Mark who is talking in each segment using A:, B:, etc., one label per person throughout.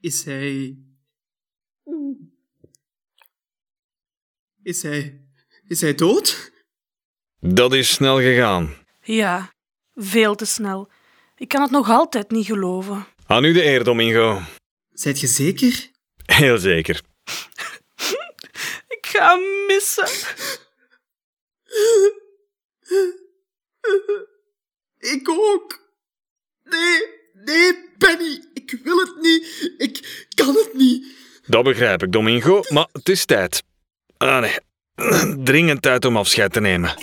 A: Is hij. Is hij. Is hij dood?
B: Dat is snel gegaan.
C: Ja, veel te snel. Ik kan het nog altijd niet geloven.
B: Aan u de eer, Domingo.
A: Zijt je zeker?
B: Heel zeker.
C: Ik ga hem missen.
A: Ik ook. Nee, nee, Penny. Ik wil het niet. Ik kan het niet.
B: Dat begrijp ik, Domingo, maar het is tijd. Ah nee, dringend tijd om afscheid te nemen.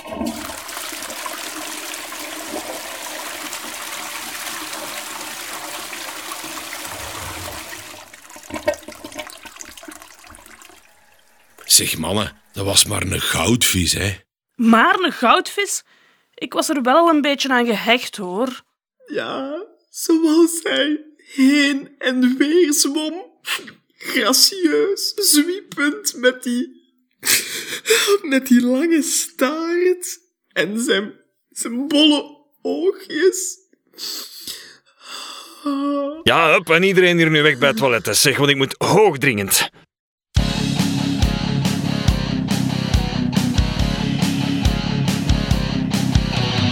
D: Zeg mannen, dat was maar een goudvis, hè?
C: Maar een goudvis? Ik was er wel een beetje aan gehecht, hoor.
A: Ja, zoals hij heen en weer zwom. Gracieus, zwiepend met die. met die lange staart en zijn, zijn bolle oogjes. Ah.
B: Ja, hup, en iedereen hier nu weg bij het toilet. hè. Zeg, want ik moet hoogdringend.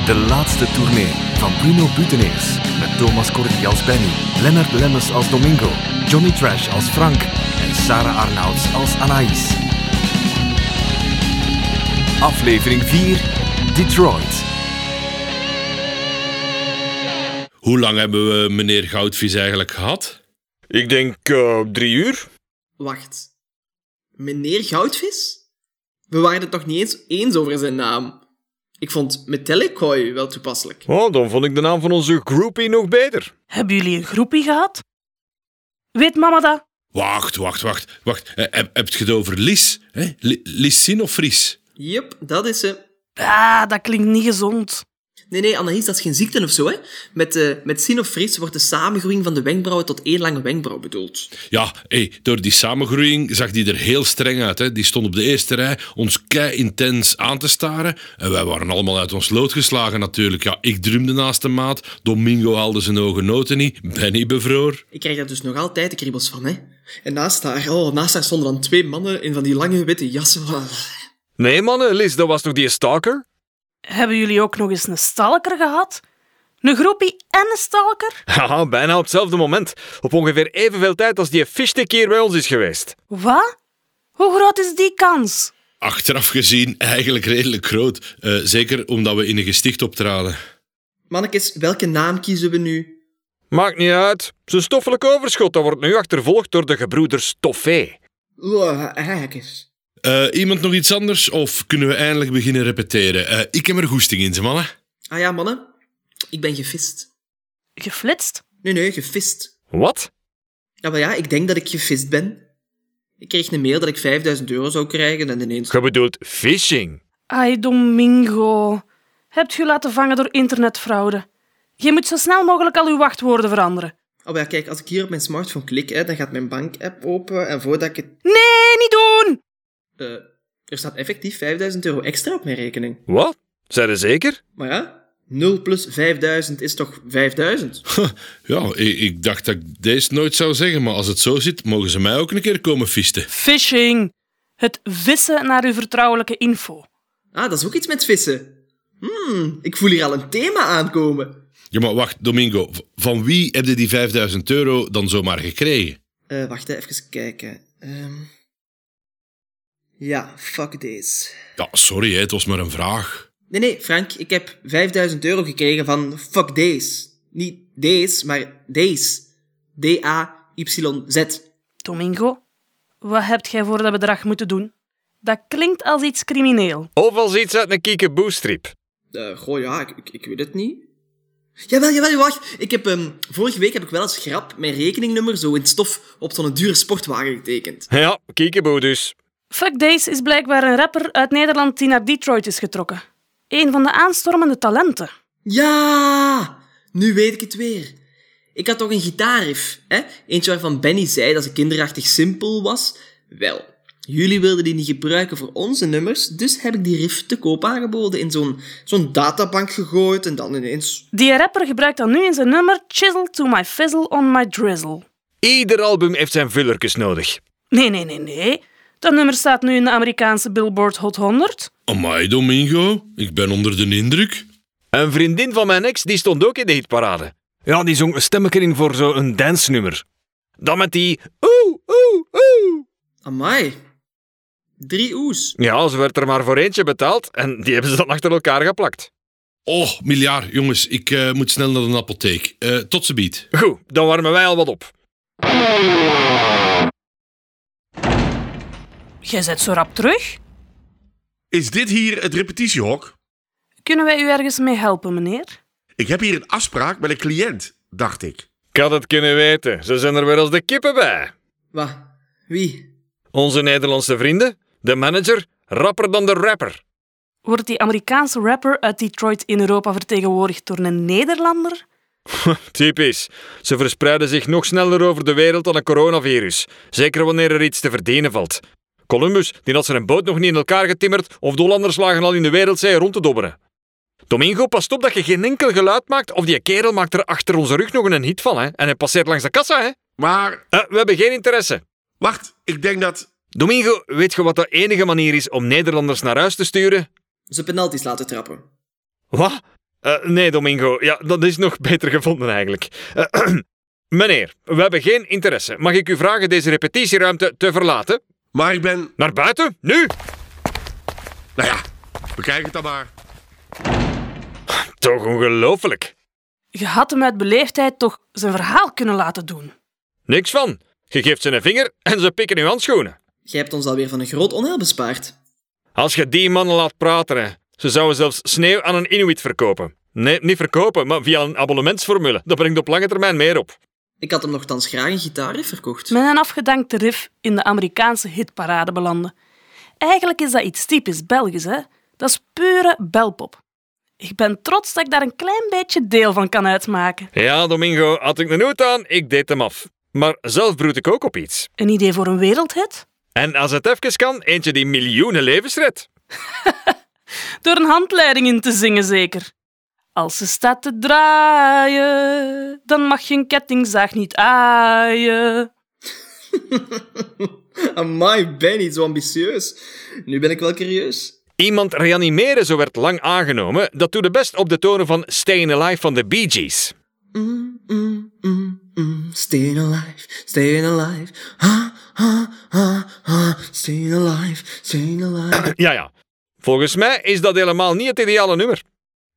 E: De laatste tournee van Bruno Buteneers. Met Thomas Cordy als Benny, Lennart Lemmers als Domingo, Johnny Trash als Frank en Sarah Arnouds als Anaïs. Aflevering 4, Detroit.
D: Hoe lang hebben we meneer Goudvis eigenlijk gehad?
B: Ik denk eh, drie uur.
A: Wacht. Meneer Goudvis? We waren het nog niet eens eens over zijn naam. Ik vond Metellicoy wel toepasselijk.
B: Oh, dan vond ik de naam van onze groupie nog beter.
C: Hebben jullie een groepie gehad? Weet mama dat?
D: Wacht, wacht, wacht, wacht. Eh, heb, heb je het over Lis? Hè? Li- Lis Sinofries?
A: Yep, dat is ze.
C: Ah, dat klinkt niet gezond.
A: Nee, nee, Anaïs, dat is geen ziekte of zo, hè? Met, eh met sinofries wordt de samengroeiing van de wenkbrauwen tot één lange wenkbrauw bedoeld.
D: Ja, hé, door die samengroeiing zag die er heel streng uit. Hè? Die stond op de eerste rij ons kei intens aan te staren. En wij waren allemaal uit ons lood geslagen natuurlijk. Ja, ik drumde naast de maat. Domingo haalde zijn ogen noten niet. Benny bevroor.
A: Ik krijg daar dus nog altijd de kriebels van, hè? En naast haar, oh, naast haar stonden dan twee mannen in van die lange witte jassen.
B: Nee, mannen, Liz, dat was toch die stalker?
C: Hebben jullie ook nog eens een stalker gehad? Een groepie en een stalker?
B: Haha, bijna op hetzelfde moment. Op ongeveer evenveel tijd als die fishstick hier bij ons is geweest.
C: Wat? Hoe groot is die kans?
D: Achteraf gezien eigenlijk redelijk groot. Eh, zeker omdat we in een gesticht optraden.
A: Mannekes, welke naam kiezen we nu?
B: Maakt niet uit. Zijn stoffelijk overschot dat wordt nu achtervolgd door de gebroeders Toffee.
A: Uah, Eikes.
D: Eh, iemand nog iets anders? Of kunnen we eindelijk beginnen repeteren? Eh, ik heb er goesting in, ze mannen.
A: Ah ja, mannen, ik ben gefist.
C: Geflitst?
A: Nee, nee, gefist.
B: Wat?
A: Ja, maar ja, ik denk dat ik gefist ben. Ik kreeg een mail dat ik 5000 euro zou krijgen en ineens...
B: Je bedoelt phishing.
C: Ai, Domingo. Hebt je laten vangen door internetfraude? Je moet zo snel mogelijk al uw wachtwoorden veranderen.
A: Oh maar ja, kijk, als ik hier op mijn smartphone klik, hè, dan gaat mijn bank-app open en voordat ik het...
C: Nee, niet doen!
A: eh, er staat effectief 5000 euro extra op mijn rekening.
B: Wat? Zijn er zeker?
A: Maar ja, 0 plus 5000 is toch 5000?
D: Ja, ik, ik dacht dat ik deze nooit zou zeggen, maar als het zo zit, mogen ze mij ook een keer komen fisten.
C: Phishing. Het vissen naar uw vertrouwelijke info.
A: Ah, dat is ook iets met vissen. Hmm, ik voel hier al een thema aankomen.
D: Ja, maar wacht, Domingo, v- van wie heb je die 5000 euro dan zomaar gekregen?
A: Eh, wacht, hè, even kijken. Ehm. Ja, fuck this.
D: Ja, sorry, hè, het was maar een vraag.
A: Nee, nee, Frank, ik heb 5000 euro gekregen van fuck days. Niet days, maar days. D-A-Y-Z.
C: Domingo, wat hebt jij voor dat bedrag moeten doen? Dat klinkt als iets crimineel.
B: Of als iets uit een kiekeboestrip.
A: Eh, goh, ja, ik, ik, ik weet het niet. Jawel, jawel, wacht. Ik heb, ehm, vorige week heb ik wel als grap mijn rekeningnummer zo in het stof op zo'n dure sportwagen getekend.
B: Ja, kiekeboe dus.
C: Fuck Days is blijkbaar een rapper uit Nederland die naar Detroit is getrokken. Een van de aanstormende talenten.
A: Ja, nu weet ik het weer. Ik had toch een gitaarriff, hè? Eentje waarvan Benny zei dat ze kinderachtig simpel was. Wel, jullie wilden die niet gebruiken voor onze nummers, dus heb ik die riff te koop aangeboden in zo'n zo'n databank gegooid en dan ineens...
C: Die rapper gebruikt dan nu in zijn nummer Chisel to my fizzle on my drizzle.
B: Ieder album heeft zijn vullerkes nodig.
C: Nee, nee, nee, nee. Dat nummer staat nu in de Amerikaanse Billboard Hot 100.
D: Amai, Domingo, ik ben onder de indruk.
B: Een vriendin van mijn ex die stond ook in de hitparade. Ja, die zong een stemmetje in voor zo'n dansnummer. Dan met die oeh, oeh, oeh.
A: Amai. Drie oes.
B: Ja, ze werd er maar voor eentje betaald en die hebben ze dan achter elkaar geplakt.
D: Oh, miljard, jongens, ik eh, moet snel naar de apotheek. Eh, tot ze biedt.
B: Goed, dan warmen wij al wat op.
C: Jij zet zo rap terug.
F: Is dit hier het repetitiehok?
C: Kunnen wij u ergens mee helpen, meneer?
F: Ik heb hier een afspraak met een cliënt, dacht ik.
B: Ik had het kunnen weten, ze zijn er weer als de kippen bij.
A: Wat? Wie?
B: Onze Nederlandse vrienden, de manager, rapper dan de rapper.
C: Wordt die Amerikaanse rapper uit Detroit in Europa vertegenwoordigd door een Nederlander?
B: Typisch. Ze verspreiden zich nog sneller over de wereld dan een coronavirus. Zeker wanneer er iets te verdienen valt. Columbus die had zijn boot nog niet in elkaar getimmerd of de Hollanders lagen al in de wereldzee rond te dobberen. Domingo, pas op dat je geen enkel geluid maakt of die kerel maakt er achter onze rug nog een hit van. Hè? En hij passeert langs de kassa. Hè?
F: Maar,
B: Eh, we hebben geen interesse.
F: wacht, ik denk dat...
B: Domingo, weet je wat de enige manier is om Nederlanders naar huis te sturen?
A: Ze penalties laten trappen.
B: Wat? Eh, nee, Domingo. Ja, dat is nog beter gevonden eigenlijk. Eh, meneer, we hebben geen interesse. Mag ik u vragen deze repetitieruimte te verlaten?
F: Maar ik ben...
B: Naar buiten? Nu?
F: Nou ja, bekijk het dan maar.
B: Toch ongelooflijk.
C: Je had hem uit beleefdheid toch zijn verhaal kunnen laten doen.
B: Niks van. Je geeft ze een vinger en ze pikken uw handschoenen.
A: Jij hebt ons alweer van een groot onheil bespaard.
B: Als je die mannen laat praten, hè, ze zouden zelfs sneeuw aan een Inuit verkopen. Nee, niet verkopen, maar via een abonnementsformule. Dat brengt op lange termijn meer op.
A: Ik had hem nogthans graag een gitaarriff verkocht.
C: Met een afgedankte riff in de Amerikaanse hitparade belanden. Eigenlijk is dat iets typisch Belgisch, hè? Dat is pure belpop. Ik ben trots dat ik daar een klein beetje deel van kan uitmaken.
B: Ja, Domingo, had ik een hoed aan, ik deed hem af. Maar zelf broed ik ook op iets.
C: Een idee voor een wereldhit?
B: En als het even kan, eentje die miljoenen levens redt.
C: Door een handleiding in te zingen, zeker. Als ze staat te draaien, dan mag je een kettingzaag niet aaien.
A: Amai, Benny, zo ambitieus. Nu ben ik wel curieus.
B: Iemand reanimeren, zo werd lang aangenomen, dat doet de best op de tonen van Stayin' Alive van de Bee Gees.
A: Mm, mm, mm, mm. Staying alive, staying alive. Ha, ha, ha, ha. Staying alive, staying alive.
B: Ja, ja. Volgens mij is dat helemaal niet het ideale nummer.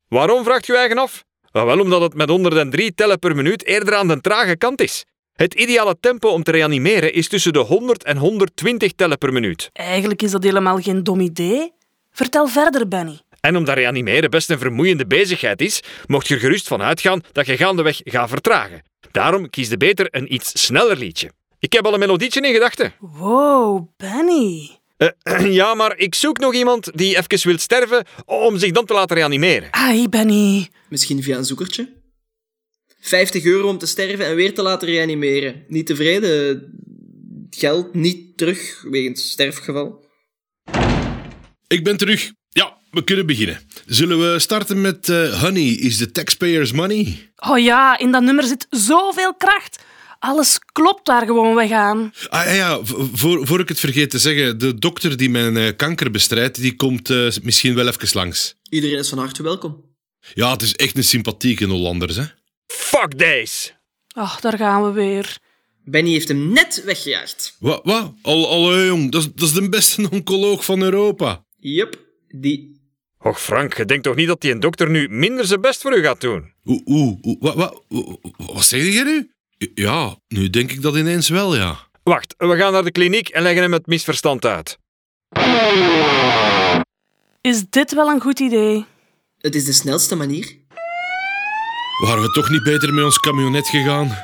B: Waarom vraagt u eigen af? Ah, Wel omdat het met 103 tellen per minuut eerder aan de trage kant is. Het ideale tempo om te reanimeren is tussen de 100 en 120 tellen per minuut.
C: Eigenlijk is dat helemaal geen dom idee. Vertel verder, Benny.
B: En omdat reanimeren best een vermoeiende bezigheid is, mocht je er gerust van uitgaan dat je gaandeweg gaat vertragen. Daarom kies je beter een iets sneller liedje. Ik heb al een melodietje in gedachten.
C: Wow, Benny.
B: Eh, ja, maar ik zoek nog iemand die even wil sterven om zich dan te laten reanimeren.
C: Ai, Benny.
A: Misschien via een zoekertje? 50 euro om te sterven en weer te laten reanimeren. Niet tevreden? Geld niet terug wegens sterfgeval.
D: Ik ben terug. Ja, we kunnen beginnen. Zullen we starten met eh, Honey is the taxpayer's money?
C: Oh ja, in dat nummer zit zoveel kracht. Alles klopt daar gewoon weg aan.
D: Ah ja, ja, v- voor, voor ik het vergeet te zeggen, de dokter die mijn eh, kanker bestrijdt, die komt eh, misschien wel even langs.
A: Iedereen is van harte welkom.
D: Ja, het is echt een sympathieke Hollanders, hè?
B: Fuck deze!
C: Ach, daar gaan we weer.
A: Benny heeft hem net weggejaagd.
D: Wat? wat? Al, allee, jong, dat is, dat is de beste oncoloog van Europa.
A: Yup, die.
B: Och Frank, je denkt toch niet dat die een dokter nu minder zijn best voor u gaat doen?
D: Oeh, oeh, oeh, wat, wat, oeh, wat zeg je nu? Ja, nu denk ik dat ineens wel, ja.
B: Wacht, we gaan naar de kliniek en leggen hem het misverstand uit.
C: Is dit wel een goed idee?
A: Het is de snelste manier.
D: Waren we toch niet beter met ons camionet gegaan?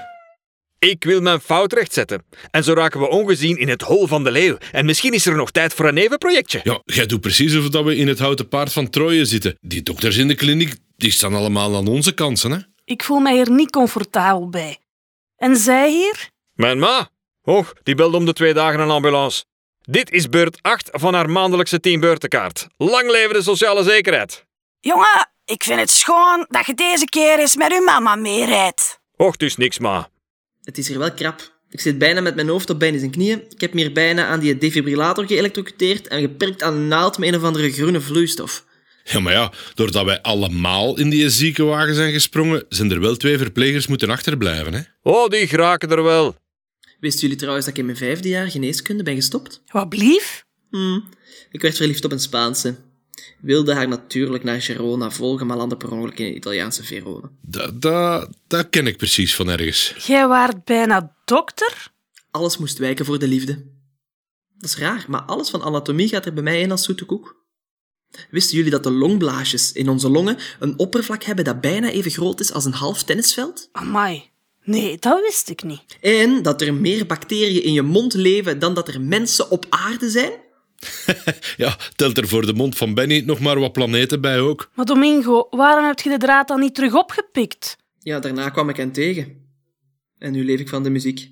B: Ik wil mijn fout rechtzetten. En zo raken we ongezien in het hol van de leeuw. En misschien is er nog tijd voor een nevenprojectje.
D: Ja, jij doet precies of dat we in het houten paard van Troje zitten. Die dokters in de kliniek, die staan allemaal aan onze kansen, hè?
C: Ik voel mij hier niet comfortabel bij. En zij hier?
B: Mijn ma? Och, die belde om de twee dagen een ambulance. Dit is beurt 8 van haar maandelijkse 10 beurtenkaart. Lang leven de sociale zekerheid.
G: Jongen, ik vind het schoon dat je deze keer eens met uw mama meerijdt.
B: Och, dus niks ma.
A: Het is er wel krap. Ik zit bijna met mijn hoofd op bijna zijn knieën. Ik heb me hier bijna aan die defibrillator geëlectrocuteerd en geperkt aan een naald met een of andere groene vloeistof.
D: Ja, maar ja, doordat wij allemaal in die ziekenwagen zijn gesprongen, zijn er wel twee verplegers moeten achterblijven, hè?
B: Oh, die geraken er wel.
A: Wisten jullie trouwens dat ik in mijn vijfde jaar geneeskunde ben gestopt?
C: Wat blief?
A: Hmm. Ik werd verliefd op een Spaanse. Wilde haar natuurlijk naar Gerona volgen, maar landde per ongeluk in het Italiaanse Verona.
D: Dat, dat, dat ken ik precies van ergens.
C: Jij waart bijna dokter?
A: Alles moest wijken voor de liefde. Dat is raar, maar alles van anatomie gaat er bij mij in als zoete koek. Wisten jullie dat de longblaasjes in onze longen een oppervlak hebben dat bijna even groot is als een half tennisveld?
C: Amai. Nee, dat wist ik niet.
A: En dat er meer bacteriën in je mond leven dan dat er mensen op aarde zijn?
D: Ja, telt er voor de mond van Benny nog maar wat planeten bij ook.
C: Maar Domingo, waarom heb je de draad dan niet terug opgepikt?
A: Ja, daarna kwam ik hen tegen. En nu leef ik van de muziek.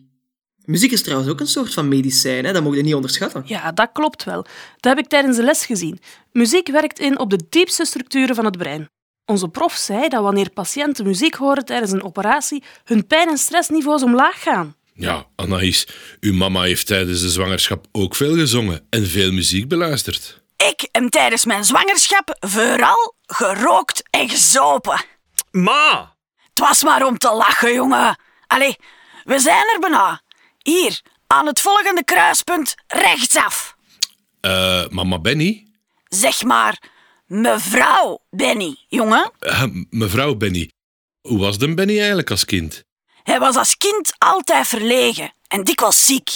A: Muziek is trouwens ook een soort van medicijn, hè? dat mogen je niet onderschatten.
C: Ja, dat klopt wel. Dat heb ik tijdens de les gezien. Muziek werkt in op de diepste structuren van het brein. Onze prof zei dat wanneer patiënten muziek horen tijdens een operatie, hun pijn- en stressniveaus omlaag gaan.
D: Ja, Anaïs, uw mama heeft tijdens de zwangerschap ook veel gezongen en veel muziek beluisterd.
G: Ik heb tijdens mijn zwangerschap vooral gerookt en gezopen.
B: Ma!
G: Het was maar om te lachen, jongen. Allee, we zijn er bijna. Hier, aan het volgende kruispunt, rechtsaf.
D: Eh, mama Benny?
G: Zeg maar, mevrouw Benny, jongen.
D: Eh, mevrouw Benny. Hoe was de Benny eigenlijk als kind?
G: Hij was als kind altijd verlegen en dikwijls ziek.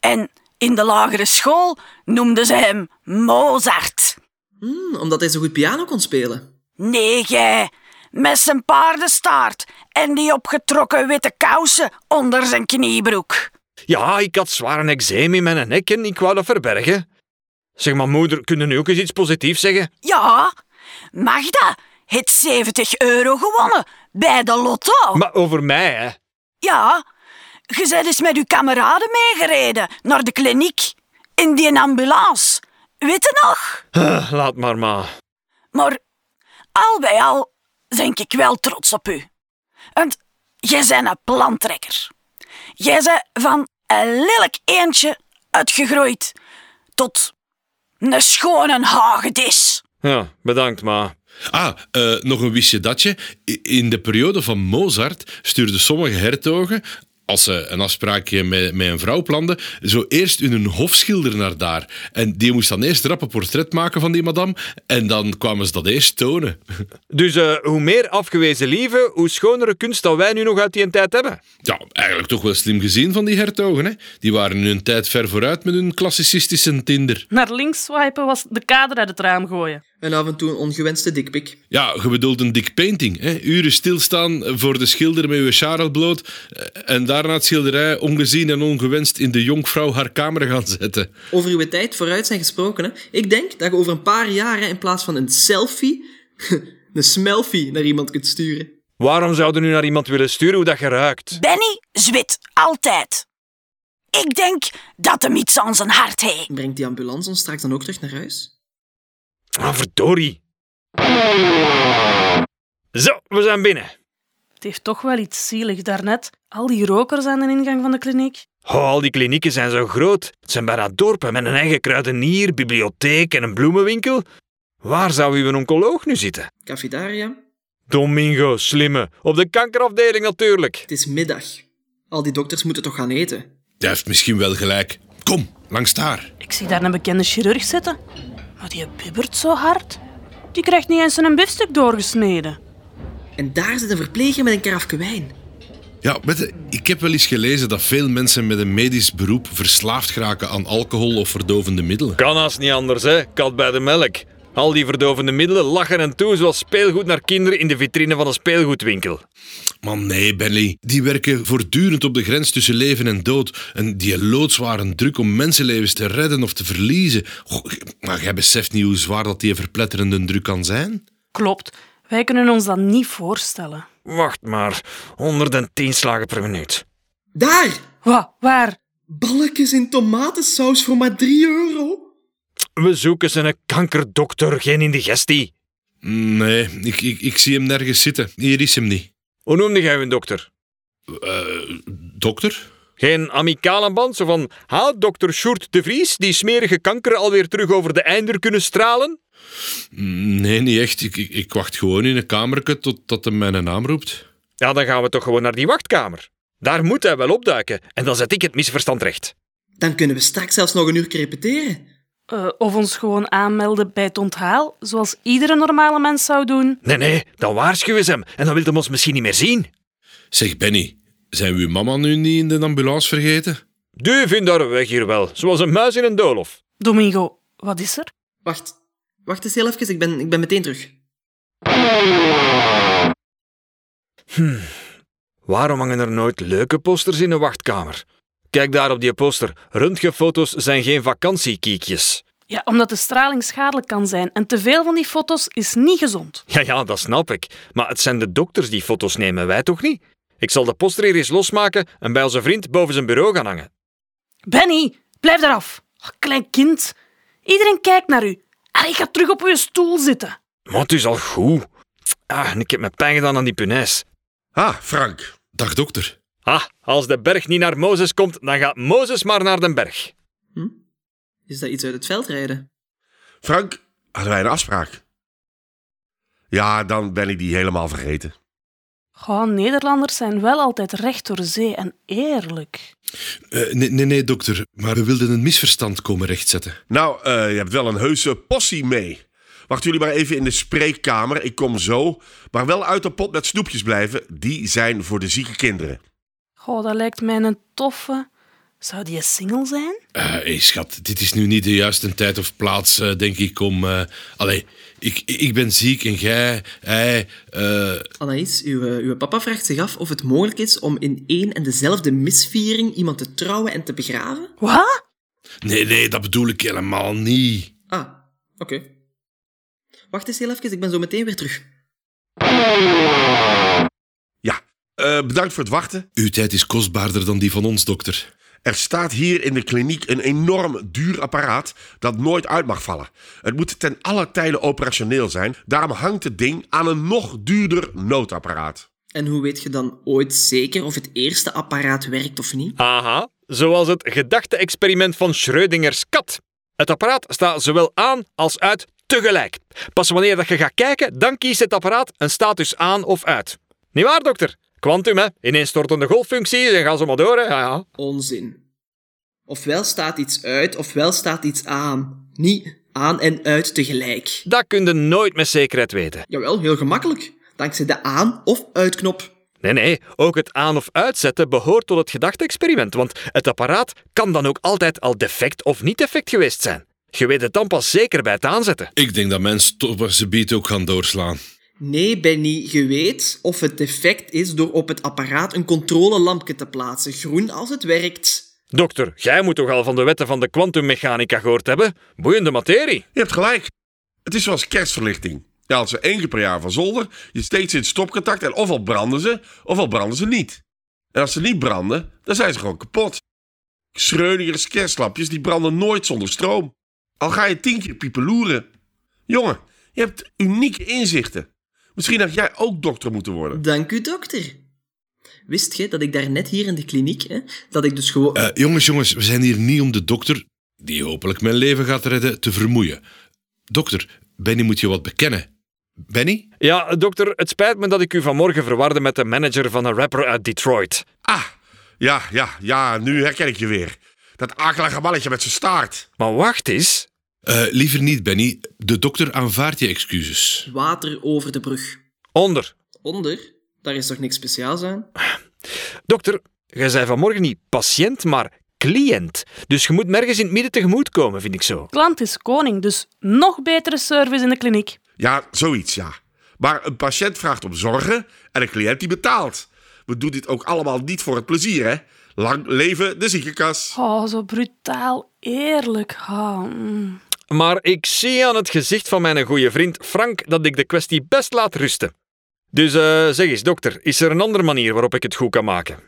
G: En in de lagere school noemden ze hem Mozart.
A: Hm, omdat hij zo goed piano kon spelen.
G: Nee, gij. Met zijn paardenstaart en die opgetrokken witte kousen onder zijn kniebroek.
B: Ja, ik had zwaar een eczeem in mijn nek en ik wou dat verbergen. Zeg maar, moeder, kun je nu ook eens iets positiefs zeggen?
G: Ja, Magda heeft 70 euro gewonnen bij de lotto.
C: Oh.
B: Maar over mij, hè?
G: Ja, je bent eens met uw kameraden meegereden naar de kliniek. In die ambulance. Weet je nog?
B: Ah, laat maar, ma.
G: Maar al bij al denk ik wel trots op u. Want jij bent een plantrekker. Jij bent van een lelijk eendje uitgegroeid tot een schone hagedis.
B: Ja, bedankt, ma.
D: Ah, eh, nog een wistje datje. I- In de periode van Mozart stuurden sommige hertogen, als ze een afspraakje met, met een vrouw planden, zo eerst hun hofschilder naar daar. En die moest dan eerst rap een portret maken van die madame. En dan kwamen ze dat eerst tonen.
B: Dus eh, hoe meer afgewezen lieve, hoe schonere kunst dat wij nu nog uit die tijd hebben.
D: Ja, eigenlijk toch wel slim gezien van die hertogen. Hè? Die waren in hun tijd ver vooruit met hun klassicistische tinder.
C: Naar links swipen was de kader uit het raam gooien.
A: En af en toe een ongewenste dikpik.
D: Ja, je bedoelt een dik painting. Hè? Uren stilstaan voor de schilder met uw sjaal bloot. eh, En daarna het schilderij ongezien en ongewenst in de jonkvrouw haar kamer gaan zetten.
A: Over uw tijd vooruit zijn gesproken, hè? ik denk dat je over een paar jaren in plaats van een selfie, een smelfie naar iemand kunt sturen.
B: Waarom zouden nu naar iemand willen sturen hoe dat geruikt?
G: Benny zwit altijd. Ik denk dat hem iets aan zijn hart heeft.
A: Brengt die ambulance ons straks dan ook terug naar huis?
B: Ah, verdorie. Zo, we zijn binnen.
C: Het heeft toch wel iets zielig daarnet. Al die rokers aan de ingang van de kliniek.
B: Oh, al die klinieken zijn zo groot. Het zijn bijna dorpen met een eigen kruidenier, bibliotheek en een bloemenwinkel. Waar zou uw oncoloog nu zitten?
A: Cafetaria?
B: Domingo, slimme. Op de kankerafdeling natuurlijk.
A: Het is middag. Al die dokters moeten toch gaan eten?
D: Hij heeft misschien wel gelijk. Kom, langs daar.
C: Ik zie daar een bekende chirurg zitten. Maar die bibbert zo hard. Die krijgt niet eens een biefstuk doorgesneden.
A: En daar zit een verpleger met een karafke wijn.
D: Ja, weet je, ik heb wel eens gelezen dat veel mensen met een medisch beroep verslaafd geraken aan alcohol of verdovende middelen.
B: Kan als niet anders, hè? Kat bij de melk. Al die verdovende middelen lachen en toe zoals speelgoed naar kinderen in de vitrine van een speelgoedwinkel.
D: Maar nee, Benny. Die werken voortdurend op de grens tussen leven en dood. En die loodzware druk om mensenlevens te redden of te verliezen. Goh, maar jij beseft niet hoe zwaar dat die verpletterende druk kan zijn?
C: Klopt, wij kunnen ons dat niet voorstellen.
B: Wacht maar, 110 slagen per minuut.
A: Daar!
C: Wat, waar?
A: Balletjes in tomatensaus voor maar 3 euro.
B: We zoeken ze een kankerdokter, geen indigestie.
D: Nee, ik, ik, ik zie hem nergens zitten. Hier is hem niet.
B: Hoe noemde jij uw dokter?
D: Eh, dokter?
B: Geen amicale band, zo van... Haat dokter Sjoerd de Vries die smerige kanker alweer terug over de einder kunnen stralen?
D: Nee, niet echt. Ik, ik, ik wacht gewoon in een kamerke totdat hij mijn naam roept.
B: Ja, dan gaan we toch gewoon naar die wachtkamer. Daar moet hij wel opduiken. En dan zet ik het misverstand recht.
A: Dan kunnen we straks zelfs nog een uur repeteren.
C: Eh, of ons gewoon aanmelden bij het onthaal, zoals iedere normale mens zou doen.
B: Nee, nee, dan waarschuwen ze hem. En dan wil hij ons misschien niet meer zien.
D: Zeg, Benny, zijn we uw mama nu niet in de ambulance vergeten?
B: Du vindt haar weg hier wel, zoals een muis in een doolhof.
C: Domingo, wat is er?
A: Wacht, wacht eens heel even, ik ben, ik ben meteen terug.
B: Waarom hangen er nooit leuke posters in een wachtkamer? Kijk daar op die poster. Röntgenfoto's zijn geen vakantiekiekjes.
C: Ja, omdat de straling schadelijk kan zijn en te veel van die foto's is niet gezond.
B: Ja, ja, dat snap ik. Maar het zijn de dokters die foto's nemen, wij toch niet? Ik zal de poster hier eens losmaken en bij onze vriend boven zijn bureau gaan hangen.
C: Benny, blijf eraf. Oh, klein kind. Iedereen kijkt naar u. Allee, ga terug op uw stoel zitten.
B: Maar het is al goed. Ah, en ik heb me pijn gedaan aan die punaise.
F: Ah, Frank.
D: Dag, dokter.
B: Ah, als de berg niet naar Mozes komt, dan gaat Mozes maar naar den berg.
A: Is dat iets uit het veld rijden?
F: Frank, hadden wij een afspraak? Ja, dan ben ik die helemaal vergeten.
C: Oh, Nederlanders zijn wel altijd recht door zee en eerlijk.
D: Eh, nee, nee, nee, dokter. Maar we wilden een misverstand komen rechtzetten.
F: Nou, eh, je hebt wel een heuse possie mee. Wacht jullie maar even in de spreekkamer. Ik kom zo. Maar wel uit de pot met snoepjes blijven. Die zijn voor de zieke kinderen.
C: Oh, dat lijkt mij een toffe. Zou die single zijn?
D: Eh, Hé, schat, dit is nu niet de juiste tijd of plaats, eh, denk ik, om... eh allee, ik, ik ben ziek en jij, hij... eh,
A: Anaïs, uw, eh, uw papa vraagt zich af of het mogelijk is om in één en dezelfde misviering iemand te trouwen en te begraven?
C: Wat?
D: nee, nee, dat bedoel ik helemaal niet.
A: Ah, oké. Wacht eens heel even, ik ben zo meteen weer terug.
F: Ja, eh, bedankt voor het wachten.
D: Uw tijd is kostbaarder dan die van ons, dokter.
F: Er staat hier in de kliniek een enorm duur apparaat dat nooit uit mag vallen. Het moet ten alle tijde operationeel zijn. Daarom hangt het ding aan een nog duurder noodapparaat.
A: En hoe weet je dan ooit zeker of het eerste apparaat werkt of niet?
B: Aha, zoals het gedachte-experiment van Schrödingers kat. Het apparaat staat zowel aan als uit tegelijk. Pas wanneer dat je gaat kijken, dan kiest het apparaat een status aan of uit. Niet waar, dokter? Quantum, hè? Ineenstortende golffunctie, dan gaan ze maar door, hè? Ja, ja.
A: Onzin. Ofwel staat iets uit, ofwel staat iets aan. Niet aan en uit tegelijk.
B: Dat kun je nooit met zekerheid weten.
A: Jawel, heel gemakkelijk. Dankzij de aan- of uitknop.
B: Nee, nee, ook het aan- of uitzetten behoort tot het gedachte-experiment, want het apparaat kan dan ook altijd al defect of niet defect geweest zijn. Je weet het dan pas zeker bij het aanzetten.
D: Ik denk dat mijn stoppers beat ook gaan doorslaan.
A: Nee, Benny, je weet of het defect is door op het apparaat een controlelampje te plaatsen, groen als het werkt.
B: Dokter, jij moet toch al van de wetten van de kwantummechanica gehoord hebben? Boeiende materie.
F: Je hebt gelijk. Het is zoals kerstverlichting. Je haalt ze één keer per jaar van zolder, je steekt ze in het stopcontact en ofwel branden ze, ofwel branden ze niet. En als ze niet branden, dan zijn ze gewoon kapot. Schreudigers kerstlampjes die branden nooit zonder stroom. Al ga je tien keer piepeloeren. Jongen, je hebt unieke inzichten. Misschien had jij ook dokter moeten worden.
A: Dank u, dokter. Wist je dat ik daarnet hier in de kliniek, hè, dat ik dus gewoon...
D: Eh, jongens, jongens, we zijn hier niet om de dokter, die hopelijk mijn leven gaat redden, te vermoeien. Dokter, Benny moet je wat bekennen. Benny?
B: Ja, dokter, het spijt me dat ik u vanmorgen verwarde met de manager van een rapper uit Detroit.
F: Ah, ja, ja, ja, nu herken ik je weer. Dat akelige mannetje met zijn staart.
B: Maar wacht eens.
D: Eh, liever niet, Benny. De dokter aanvaardt je excuses.
A: Water over de brug.
B: Onder.
A: Onder? Daar is toch niks speciaals aan?
B: Dokter, jij zei vanmorgen niet patiënt, maar cliënt. Dus je moet nergens in het midden tegemoet komen, vind ik zo.
C: Klant is koning, dus nog betere service in de kliniek.
F: Ja, zoiets, ja. Maar een patiënt vraagt om zorgen en een cliënt die betaalt. We doen dit ook allemaal niet voor het plezier, hè? Lang leven de ziekenkas.
C: Oh, zo brutaal eerlijk. Ah, mm.
B: Maar ik zie aan het gezicht van mijn goede vriend Frank dat ik de kwestie best laat rusten. Dus eh, zeg eens, dokter, is er een andere manier waarop ik het goed kan maken?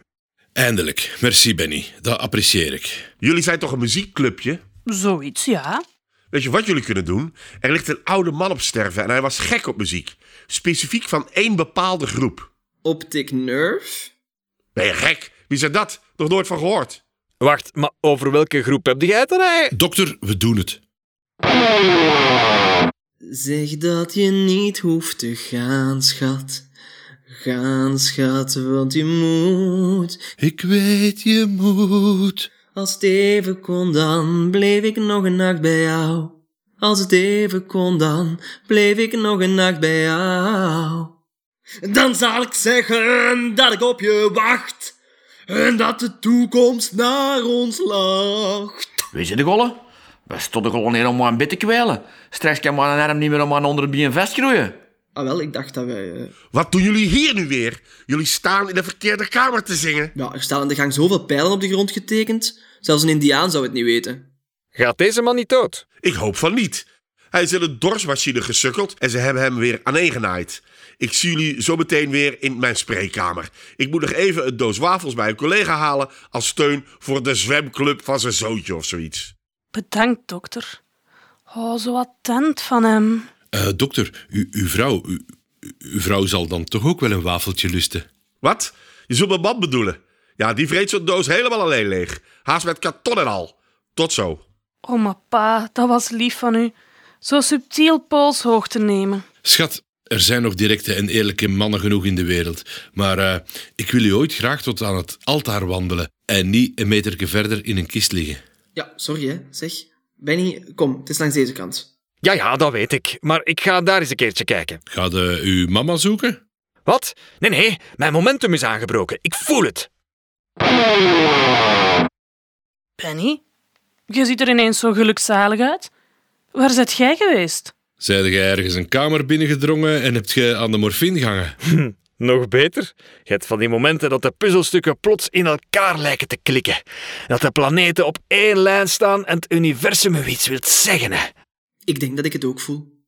D: Eindelijk. Merci, Benny. Dat apprecieer ik.
F: Jullie zijn toch een muziekclubje?
C: Zoiets, ja.
F: Weet je wat jullie kunnen doen? Er ligt een oude man op sterven en hij was gek op muziek. Specifiek van één bepaalde groep.
A: Optic nerve?
F: Ben je gek? Wie zei dat? Nog nooit van gehoord.
B: Wacht, maar over welke groep heb jij het dan eigenlijk?
D: Dokter, we doen het.
A: Zeg dat je niet hoeft te gaan, schat. Gaan, schat, want je moet.
D: Ik weet je moet.
A: Als het even kon, dan bleef ik nog een nacht bij jou. Als het even kon, dan bleef ik nog een nacht bij jou. Dan zal ik zeggen dat ik op je wacht. En dat de toekomst naar ons lacht.
H: Weet je de gollen? We stonden gewoon hier om aan bed te kwijlen. Straks kan mijn arm niet meer om aan onder het been vastgroeien.
A: Ah wel, ik dacht dat wij... eh,
F: Wat doen jullie hier nu weer? Jullie staan in de verkeerde kamer te zingen.
A: Nou, er staan aan de gang zoveel pijlen op de grond getekend. Zelfs een indiaan zou het niet weten.
B: Gaat deze man niet dood?
F: Ik hoop van niet. Hij is in een dorsmachine gesukkeld en ze hebben hem weer aaneengenaaid. Ik zie jullie zo meteen weer in mijn spreekkamer. Ik moet nog even een doos wafels bij een collega halen als steun voor de zwemclub van zijn zoontje of zoiets.
C: Bedankt, dokter. Oh, zo attent van hem.
D: Eh, dokter, u, uw vrouw, u, u- uw vrouw zal dan toch ook wel een wafeltje lusten?
F: Wat? Je zult mijn man bedoelen. Ja, die vreet zo'n doos helemaal alleen leeg. Haast met karton en al. Tot zo.
C: Oh, maar pa, dat was lief van u. Zo subtiel polshoog te nemen.
D: Schat, er zijn nog directe en eerlijke mannen genoeg in de wereld. Maar eh, ik wil u ooit graag tot aan het altaar wandelen en niet een meterke verder in een kist liggen.
A: Ja, sorry hè, zeg. Benny, kom, het is langs deze kant.
B: Ja, ja, dat weet ik. Maar ik ga daar eens een keertje kijken.
D: Gaat u uw mama zoeken?
B: Wat? Nee, nee, mijn momentum is aangebroken. Ik voel het.
C: Benny, je ziet er ineens zo gelukzalig uit. Waar zit jij geweest?
D: Zijde jij ergens een kamer binnengedrongen en hebt je aan de morfine gehangen?
B: Nog beter, je hebt van die momenten dat de puzzelstukken plots in elkaar lijken te klikken. Dat de planeten op één lijn staan en het universum u iets wilt zeggen. hè.
A: Ik denk dat ik het ook voel.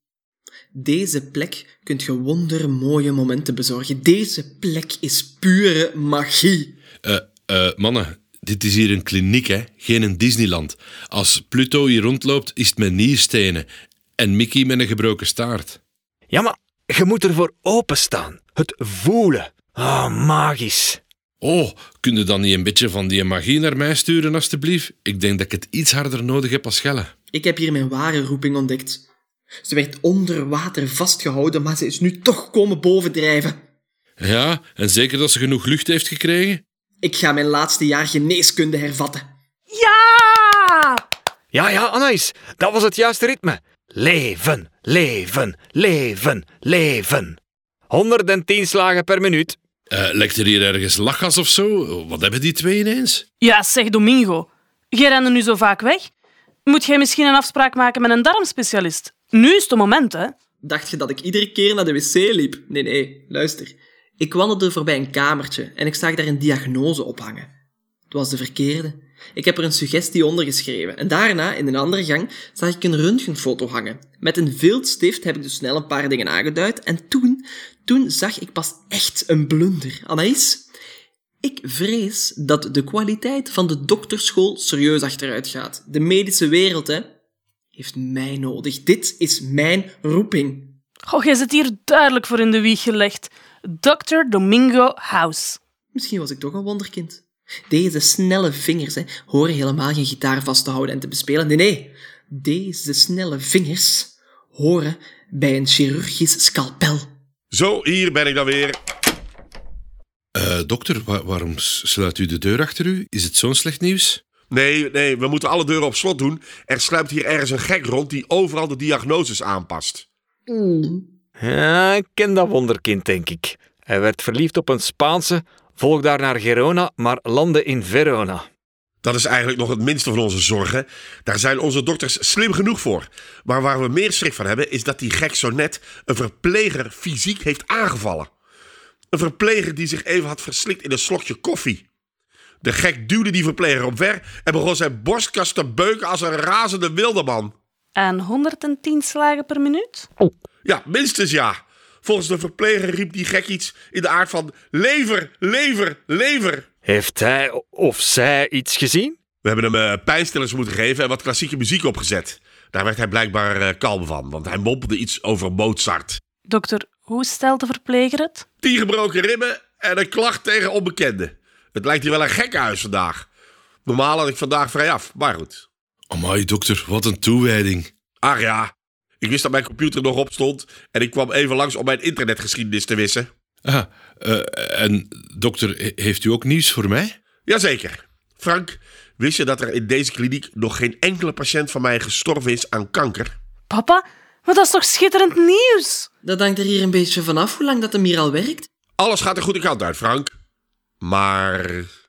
A: Deze plek kunt je wondermooie momenten bezorgen. Deze plek is pure magie.
D: Eh, eh, mannen, dit is hier een kliniek, hè? geen een Disneyland. Als Pluto hier rondloopt, is het met nierstenen. En Mickey met een gebroken staart.
B: Ja, maar je moet ervoor openstaan. Het voelen. Ah, magisch.
D: Oh, kun je dan niet een beetje van die magie naar mij sturen, alstublieft? Ik denk dat ik het iets harder nodig heb als Schelle.
A: Ik heb hier mijn ware roeping ontdekt. Ze werd onder water vastgehouden, maar ze is nu toch komen bovendrijven.
D: Ja, en zeker dat ze genoeg lucht heeft gekregen?
A: Ik ga mijn laatste jaar geneeskunde hervatten.
C: Ja!
B: Ja, ja, Anais, dat was het juiste ritme. Leven, leven, leven, leven. 110 slagen per minuut.
D: Eh, lekt er hier ergens lachgas of zo? Wat hebben die twee ineens?
C: Ja, zeg Domingo. Jij rende nu zo vaak weg. Moet jij misschien een afspraak maken met een darmspecialist? Nu is het moment, hè?
A: Dacht je dat ik iedere keer naar de wc liep? Nee, nee, luister. Ik wandelde voorbij een kamertje en ik zag daar een diagnose ophangen. Het was de verkeerde. Ik heb er een suggestie onder geschreven en daarna, in een andere gang, zag ik een röntgenfoto hangen. Met een viltstift heb ik dus snel een paar dingen aangeduid en toen, toen zag ik pas echt een blunder. Anaïs, ik vrees dat de kwaliteit van de dokterschool serieus achteruit gaat. De medische wereld, hè, heeft mij nodig. Dit is mijn roeping.
C: Oh, jij zit hier duidelijk voor in de wieg gelegd. Dr. Domingo House.
A: Misschien was ik toch een wonderkind. Deze snelle vingers hè, horen helemaal geen gitaar vast te houden en te bespelen. Nee, nee. Deze snelle vingers horen bij een chirurgisch scalpel.
F: Zo, hier ben ik dan weer.
D: Eh, dokter, wa- waarom s- sluit u de deur achter u? Is het zo'n slecht nieuws?
F: Nee, nee, we moeten alle deuren op slot doen. Er sluipt hier ergens een gek rond die overal de diagnoses aanpast.
B: Ja, ik ken dat wonderkind, denk ik. Hij werd verliefd op een Spaanse, volgde daar naar Gerona, maar landde in Verona.
F: Dat is eigenlijk nog het minste van onze zorgen. Daar zijn onze dokters slim genoeg voor. Maar waar we meer schrik van hebben, is dat die gek zo net een verpleger fysiek heeft aangevallen. Een verpleger die zich even had verslikt in een slokje koffie. De gek duwde die verpleger omver en begon zijn borstkas te beuken als een razende wildeman.
C: Aan 110 slagen per minuut?
F: Ja, minstens ja. Volgens de verpleger riep die gek iets in de aard van lever, lever, lever.
B: Heeft hij of zij iets gezien?
F: We hebben hem eh, pijnstillers moeten geven en wat klassieke muziek opgezet. Daar werd hij blijkbaar eh, kalm van, want hij mompelde iets over Mozart.
C: Dokter, hoe stelt de verpleger het?
F: Tien gebroken ribben en een klacht tegen onbekenden. Het lijkt hier wel een gekkenhuis vandaag. Normaal had ik vandaag vrij af, maar goed.
D: Amai, dokter, wat een toewijding.
F: Ach ja, ik wist dat mijn computer nog op stond en ik kwam even langs om mijn internetgeschiedenis te wissen.
D: Ah, eh, en dokter, he- heeft u ook nieuws voor mij?
F: Jazeker. Frank, wist je dat er in deze kliniek nog geen enkele patiënt van mij gestorven is aan kanker?
C: Papa, maar dat is toch schitterend nieuws?
A: Dat hangt er hier een beetje vanaf hoe lang dat hem hier al werkt.
F: Alles gaat de goede kant uit, Frank. Maar